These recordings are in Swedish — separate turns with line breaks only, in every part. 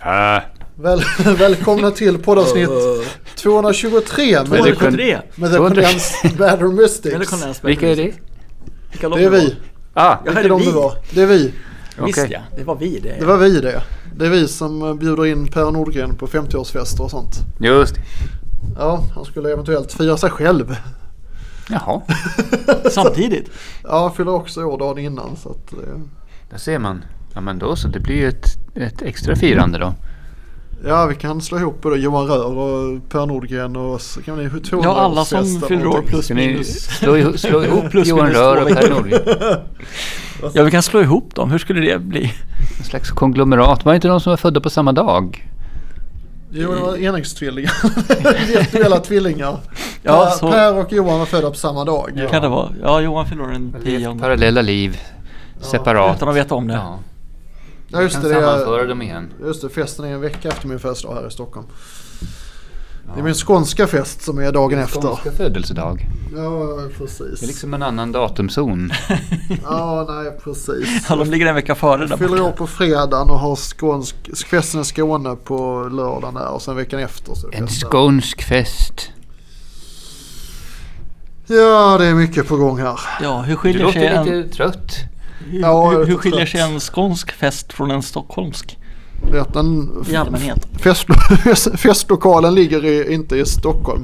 Äh.
Väl, välkomna till poddavsnitt 223 med,
det
The,
kon-
Con-
223?
med the
200.
Condensed Batter
Eller
Mystics.
Condensed
Vilka är det?
Vilka lopp
Det är vi.
Ah,
Ja,
Vilka
det är
de
vi.
det var. Det är vi.
Visst
Okej.
ja, det var vi det.
Det var vi det. Det är vi som eh, bjuder in Per Nordgren på 50-årsfester och sånt.
just det.
Ja, han skulle eventuellt fira sig själv.
Jaha,
Samtidigt.
Ja, han fyller också år dagen innan så att... eh,
där ser man. Ja men då så, det blir ju ett, ett extra firande då.
Ja, vi kan slå ihop både Johan Röhr och Per Nordgren och oss. Kan ni, 200
Ja, alla som fyller år plus-
Ska ni
Minus.
slå, iho- slå ihop
Plus
Johan
minus
Röhr
två
och Per
veckor.
Nordgren?
Ja, vi kan slå ihop dem. Hur skulle det bli?
En slags konglomerat. Var det inte de som var födda på samma dag?
Jo, det var enäggstvillingar. Virtuella tvillingar.
Ja,
per,
så-
per och Johan var födda på samma dag.
Kan det vara? Ja, Johan fyller den
Levt
tionde.
parallella liv. Separat.
Utan att veta om det.
Ja.
Ja, just
Kan
det. det
sammanföra
är,
dem igen.
just det, festen är en vecka efter min födelsedag här i Stockholm. Det är min skånska fest som är dagen efter.
Skånska födelsedag.
Ja,
Det är
precis.
liksom en annan datumzon.
Ja, nej, precis.
Ja, de ligger en vecka före där
Jag fyller
borta.
år på fredagen och har skånsk, festen i Skåne på lördagen där och sen veckan efter så är det
En
fest där.
skånsk fest.
Ja, det är mycket på gång här.
Ja, hur
Du
skiljer, sig
låter
en,
lite trött.
Ja, jag
hur,
är
hur
lite
skiljer
trött.
sig en skånsk fest från en stockholmsk?
Det är att den
I allmänhet.
fest, festlokalen ligger i, inte i Stockholm.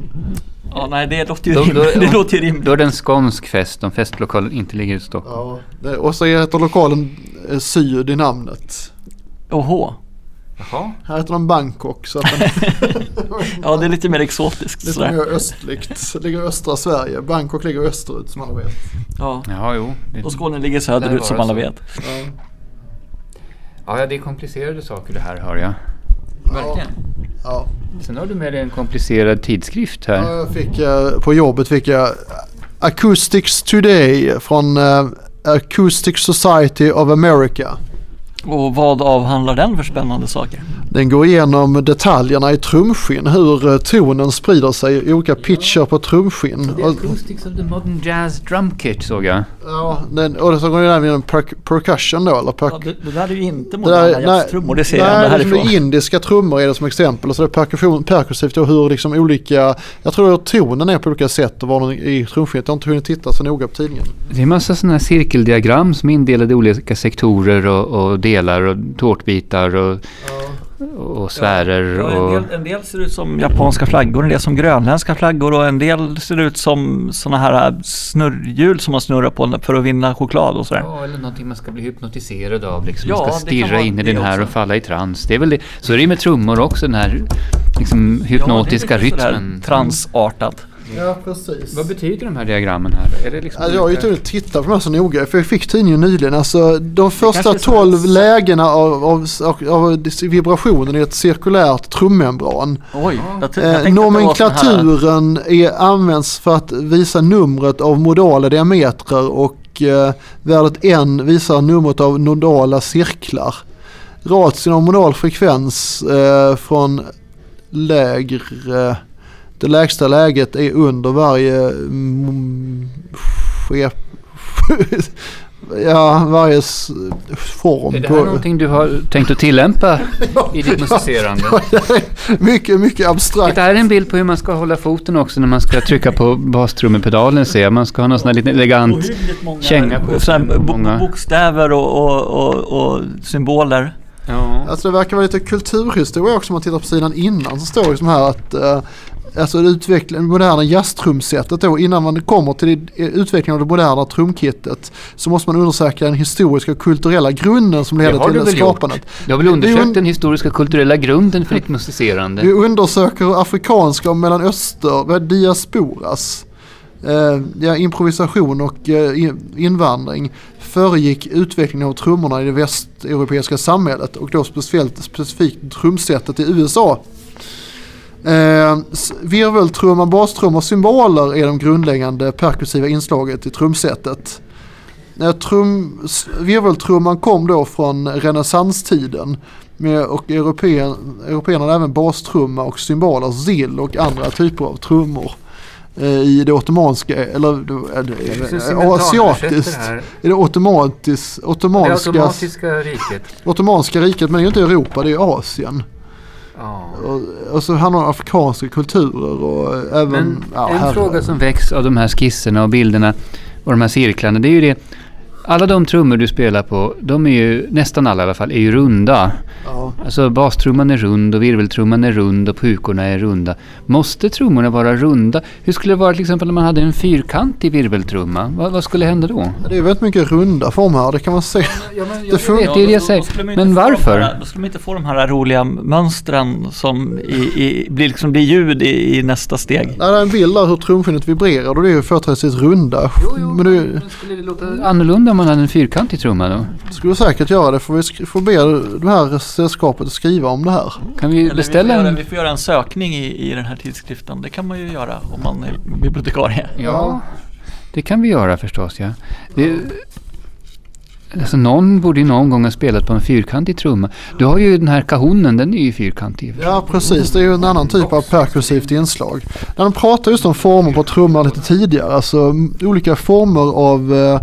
Ja, nej, det låter ju
Då- då-
rimligt. Det låter ju rimligt.
Då är det en skånsk fest om festlokalen inte ligger i Stockholm.
Ja. Det, och så heter lokalen eh, Syd i namnet.
Oho.
Jaha.
Här heter den Bangkok så att den
Ja, det är lite mer exotiskt
Lite
sådär.
mer östligt. Det ligger i östra Sverige. Bangkok ligger österut som alla vet.
Ja.
Jaha, jo. Det,
Och Skåne ligger
Lär
söderut som
vara
alla
så.
vet.
Ja.
ja, det är komplicerade saker det här hör jag.
Verkligen. Ja.
Sen har du med dig en komplicerad tidskrift
Ja,
här.
Jag fick, eh, på jobbet fick jag Acoustics Today från eh, Acoustic Society of America.
Och vad avhandlar den för spännande saker?
Den går igenom detaljerna i trumskinn, hur eh, tonen sprider sig i olika pitcher på trumskinn.
The
Och,
Acoustics of the Modern Jazz Drum Kit såg jag.
ja, den, och så går den även igenom per- percussion då, eller per-
Ja, det, det där är ju inte
Det där-
moderna jazztrummor, det ser jag
nej,
ändå
liksom
härifrån.
indiska trummor är det som exempel. Och så det är perkussion, perkursivt och hur liksom olika, jag tror att tonen är på olika sätt och var den i trumskinnet. Jag har inte hunnit titta så noga på tidningen.
Det är massa sådana här cirkeldiagram som är indelade i olika sektorer och, och delar och tårtbitar och, och sfärer.
Ja, en,
Och,
del, en del ser ut som japanska flaggor, en del som grönländska flaggor och en del ser ut som sådana här äh, snurrhjul som man snurrar på för att vinna choklad och sådär.
Ja, eller någonting man ska bli hypnotiserad av. Liksom.
Ja,
man ska
det kan
stirra
vara
in i
det
den här
också.
och falla i trans. Det är väl det. Så är det ju med trummor också, den här liksom, hypnotiska
Ja, det är lite sådär
rytmen.
Transartat.
Ja, precis.
Vad betyder de här diagrammen här? Är det liksom
Alltså, jag har ju inte hunnit titta på de här så noga, för jag fick tidningen nyligen. Alltså, de första
kanske är så här-
12 lägena av, av, av vibrationen i ett cirkulärt trummembran.
Oj, jag, ty- Typ, jag
Eh,
tänkte att det var såna här,
nomenklaturen är, används för att visa numret av modala diametrer och eh, värdet n visar numret av nodala cirklar. Ratien av modal frekvens eh, från lägre, det lägsta läget är under varje mm, skep, ja, varje s- form.
Är det
på-
här någonting du har tänkt att tillämpa i ditt musicerande?
mycket, mycket abstrakt.
Det här är en bild på hur man ska hålla foten också när man ska trycka på bastrummepedalen ser jag. Man ska ha någon sån här liten elegant
ohyggligt många
känga på
sådana här bo-
många.
bokstäver och, och, och, och symboler.
Ja.
Alltså det verkar vara lite kulturhistoria också om man tittar på sidan innan så står det som här att eh, alltså utveckling, det moderna jazztrumsetet då innan man kommer till eh, utvecklingen av det moderna trumkittet så måste man undersöka den historiska och kulturella grunden som leder
Det har
till
du
det
väl
skapandet.
gjort? Du har väl
Det- det är
undersökt
un-
den historiska kulturella grunden för ditt musicerande?
Vi undersöker hur afrikanska och mellanöster, vad är diasporas, eh, ja, improvisation och eh, in- invandring föregick utvecklingen av trummorna i det västeuropeiska samhället och då speciellt, specifikt trumsetet i USA. Eh, s- virveltrumma, bastrumma och cymbaler är de grundläggande perkussiva inslaget i trumsetet. Eh, Trum, s- virveltrumman kom då från renässanstiden med, och europeen- européerna hade även bastrumma och cymbaler, zill och andra typer av trummor. eh, i det ottomanska, eller eh, det-
Det är
det-
som
det- asiatiskt,
simultanöversätter här.
i det ottomatis,
Det
ottomanska,
automatiska riket.
ottomanska riket, men det är ju inte Europa, det är Asien.
Ja.
Och, och så handlar det om afrikanska kulturer och eh, även...
Men
ja,
en
här-
fråga som väcks av de här skisserna och bilderna och de här cirklarna, det är ju det. Alla de trummor du spelar på, de är ju, nästan alla i alla fall, är ju runda.
Ja.
Alltså bastrumman är rund och virveltrumman är rund och pukorna är runda. Måste trummorna vara runda? Hur skulle det vara till exempel om man hade en fyrkantig virveltrumma? Vad, vad skulle hända då?
Det är väldigt mycket runda former här, det kan man se.
Ja, men
Det funkar-
det är det jag säger. Men varför?
Här, då skulle de inte få de här roliga mönstren som i, i, blir liksom det ljud i, i nästa steg.
Där är en bild där hur trumskinnet vibrerar och det är ju företrädesvis runda. men det
skulle det låta annorlunda om man hade en fyrkantig trumma då?
skulle säkert göra det. Får vi sk- får be det här sällskapet att skriva om det här.
Kan vi
Eller vi, får
beställa
göra,
en...
vi får göra en sökning i, i den här tidskriften. Det kan man ju göra om man är bibliotekarie.
Ja, det kan vi göra förstås ja. Det, alltså någon borde ju någon gång ha spelat på en fyrkantig trumma. Du har ju den här kahonen, den är ju fyrkantig.
Ja precis, det är ju en annan typ av perkursivt inslag. När de pratar just om former på trummor lite tidigare, alltså m- olika former av eh,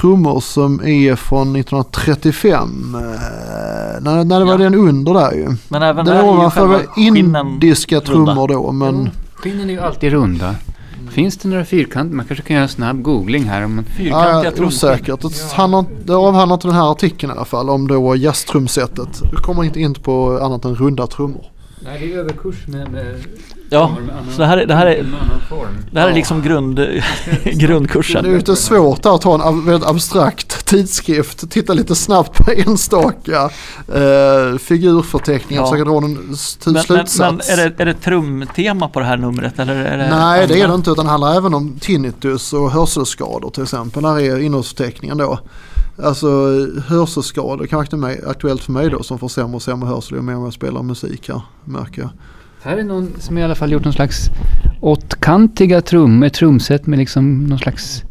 trummor som är från 1935. Eh, när, när det var
Ja.
den under där ju.
Men även
Den
där är ju
ovanför
själva
var
skinnen
indiska
runda.
trummor då men
Skinnen är ju alltid runda. Finns det några fyrkanter? Man kanske kan göra en snabb googling här. Om man,
ja,
fyrkantiga
ja,
trumskinn.
osäkert. Det, handlar, det avhandlar inte den här artikeln i alla fall om då jazztrumsetet. Du kommer inte in på annat än runda trummor.
Nej, det är överkurs med, med,
Ja, så det här, är- det här är,
annan form.
det här är liksom grund, grundkursen.
Det är ju inte svårt att ta en ab- väldigt abstrakt tidskrift, titta lite snabbt på enstaka eh, figurförteckningar och
Ja.
försöka dra en s- till
Men, men,
slutsats.
men är, det, eh, är det trumtema på det här numret eller är det
Nej det är det
andra?
inte utan det handlar även om tinnitus och hörselskador till exempel. Här är innehållsförteckningen då. Alltså hörselskador kan vara aktu- aktuellt för mig då som får sämre och sämre hörsel ju mer jag spelar musik här märker jag.
Här är någon som i alla fall gjort någon slags åttkantiga trummor, trumset med liksom någon slags,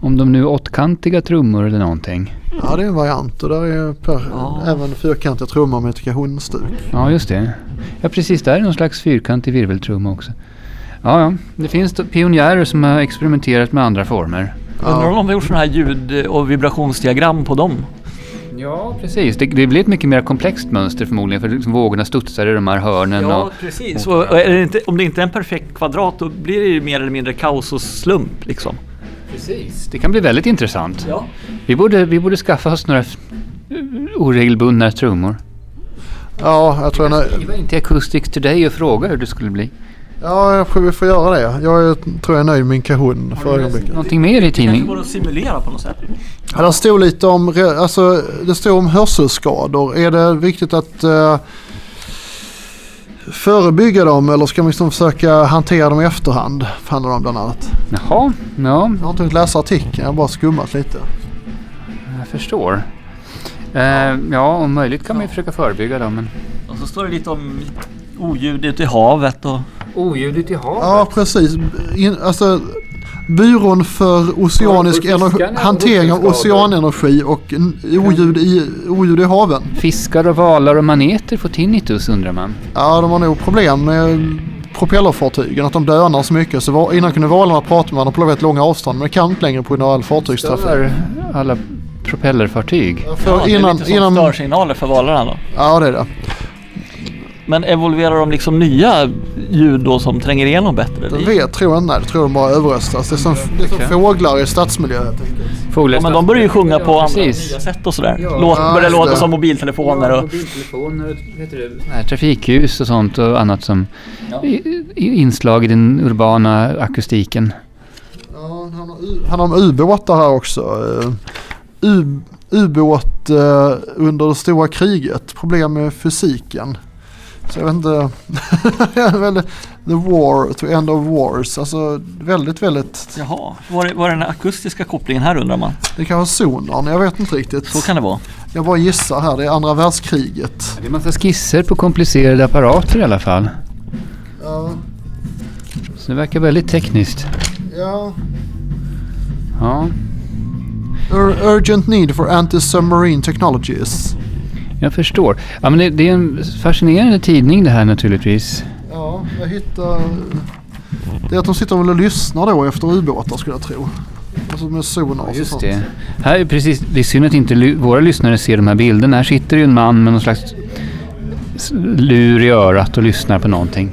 om de nu är åttkantiga trummor eller någonting.
Ja det är en variant och där är per,
Ja.
även fyrkantiga trummor med ekahunstuk.
Ja, just det. Ja, precis. Där är någon slags fyrkantig virveltrumma också. Ja, ja. Det finns då pionjärer som har experimenterat med andra former.
Undrar om de har gjort sådana här ljud och vibrationsdiagram på dem?
Ja, precis. Det, det blir ett mycket mer komplext mönster förmodligen för liksom vågorna studsar i de här hörnen.
Ja,
Och,
precis. Och och är det inte, om det inte är en perfekt kvadrat då blir det ju mer eller mindre kaos och slump liksom.
precis. Det kan bli väldigt intressant.
Ja.
Vi, borde, vi borde skaffa oss några f- oregelbundna trummor.
Ja jag tror jag nö-
Skriva in till Acoustics Today och fråga hur det skulle bli.
Ja, jag tror vi får göra det. Jag är, tror jag är nöjd med min Kahoon för ögonblicket.
Någonting mer i
Kanske
tidningen?
går att simulera på något sätt.
Ja, det stod lite om, re- alltså, det stod om hörselskador. Är det viktigt att eh, förebygga dem eller ska man liksom försöka hantera dem i efterhand? Handlar det om bland annat.
Jaha, ja,
Jag har inte hunnit läsa artikeln, jag har bara skummat lite.
jag förstår. Eh, ja, om möjligt kan man ju försöka förebygga dem. Men...
Och så står det lite om oljud ute i havet och...
Oljudet i havet?
Ja, precis. In, alltså, Byrån för oceanisk
Ja, för
energi,
fiskarna och
hantering av
hörselskador.
oceanenergi och n- oljud i, oljud i haven.
Fiskar och valar och maneter får tinnitus undrar man.
Ja, de har nog problem med propellerfartygen, att de dönar så mycket. Så va- innan kunde valarna prata med varandra på väldigt långa avstånd, men det kan inte längre på grund av all fartygstrafik.
Stör alla propellerfartyg.
För
Ja, det är
innan,
lite som
innan,
störsignaler för valarna då.
ja, det är det.
Men evolverar de liksom nya ljud då som tränger igenom bättre?
Jag vet, tror jag inte. Nej, det tror jag de bara överröstas. Det är som, det är som fåglar i stadsmiljö. helt enkelt.
Fåglar
Ja men de börjar ju sjunga på andra
precis.
nya sätt och sådär.
Ja.
Låt,
Ja,
börjar
just
låta
det.
som mobiltelefoner och...
mobiltelefoner, heter det? Såna här trafikljus och sånt och annat som
Ja.
i- i- inslag i den urbana akustiken.
Ja, han har u- han har om ubåtar här också. Eh, U- ubåt eh, under det stora kriget. Problem med fysiken. Så jag vet inte. Väldigt- The war, to end of wars. Alltså väldigt, väldigt.
Jaha, var är, var är den akustiska kopplingen här undrar man?
Det kan vara zonern, jag vet inte riktigt.
Så kan det vara.
Jag bara gissar här, det är andra världskriget.
Det är massa skisser på komplicerade apparater i alla fall.
Ja,
Så det verkar väldigt tekniskt.
ja.
Ja,
Ur- urgent need for anti-submarine technologies.
jag förstår. Ja, men det, det är en fascinerande tidning det här naturligtvis.
Ja, jag hittar Det är att de sitter väl och lyssnar då efter ubåtar skulle jag tro. Alltså med sonar och
Just
sånt.
det. Här är precis, det är synd att inte ly- våra lyssnare ser de här bilderna. Här sitter ju en man med någon slags s- lur i örat och lyssnar på någonting.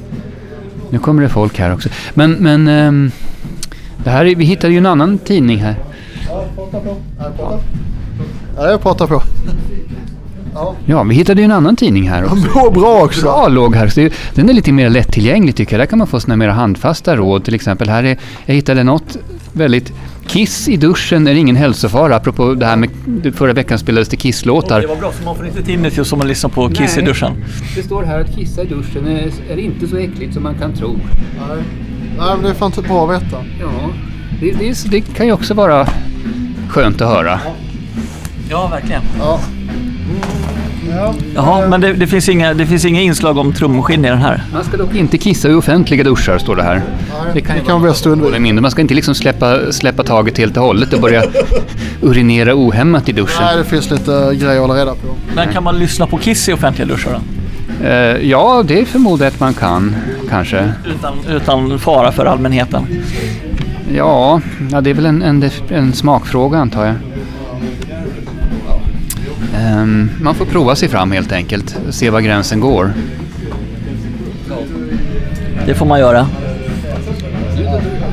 Nu kommer det folk här också. Men, men ehm, det här är, vi hittade ju en annan tidning här.
Ja, jag pratar på. Ja.
Ja, vi hittade ju en annan tidning här också.
De mår bra också.
Bra låg här. Så det, den är lite mer lättillgänglig tycker jag. Där kan man få såna mer handfasta råd. Till exempel här är, jag hittade något väldigt... Kiss i duschen är ingen hälsofara. Apropå det här med förra veckan spelades det Kiss-låtar.
Det var bra, för man får inte tinnitus om man lyssnar på Kiss i
Nej.
duschen.
Det står här att kissa i duschen är, är inte så äckligt som man kan tro.
Nej. Nej, men det är fan inte bra att veta.
Ja, det, det, är- det kan ju också vara skönt att höra.
Ja, verkligen.
Ja. Ja.
Jaha, men det, det, finns inga, det finns inga inslag om trumskinn i den här.
Man ska dock inte kissa i offentliga duschar, står det här. Det kan ju
Det kan vara bäst att
vara
undvika.
mindre. Man ska inte liksom släppa, släppa taget helt och hållet och börja urinera ohämmat i duschen.
Nej, det finns lite grejer att hålla reda på.
Men kan man lyssna på Kiss i offentliga duschar då?
Eh, ja, det förmodar jag att man kan, kanske.
Utan, utan fara för allmänheten.
Ja, ja det är väl en, en, def- en smakfråga antar jag. Ehm, man får prova sig fram helt enkelt, se var gränsen går.
Det får man göra.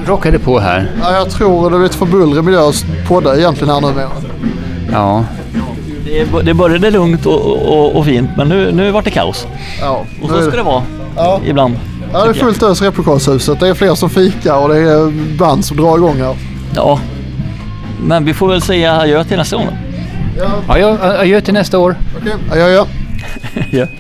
Rockade på här.
Ja, jag tror det blir lite för bullrig miljö att podda egentligen här numera.
Ja,
Det, det började lugnt och, och, och fint, men nu, nu vart det kaos.
Ja.
Och så ska det vara
Ja.
ibland.
Ja, det är fullt ös i replokalshuset. Det är fler som fikar och det är band som drar igång här.
Ja. Men vi får väl säga adjö till nästa gång då.
Ja,
ja jag, adjö till nästa år.
okej. Adjö, adjö.
Ja.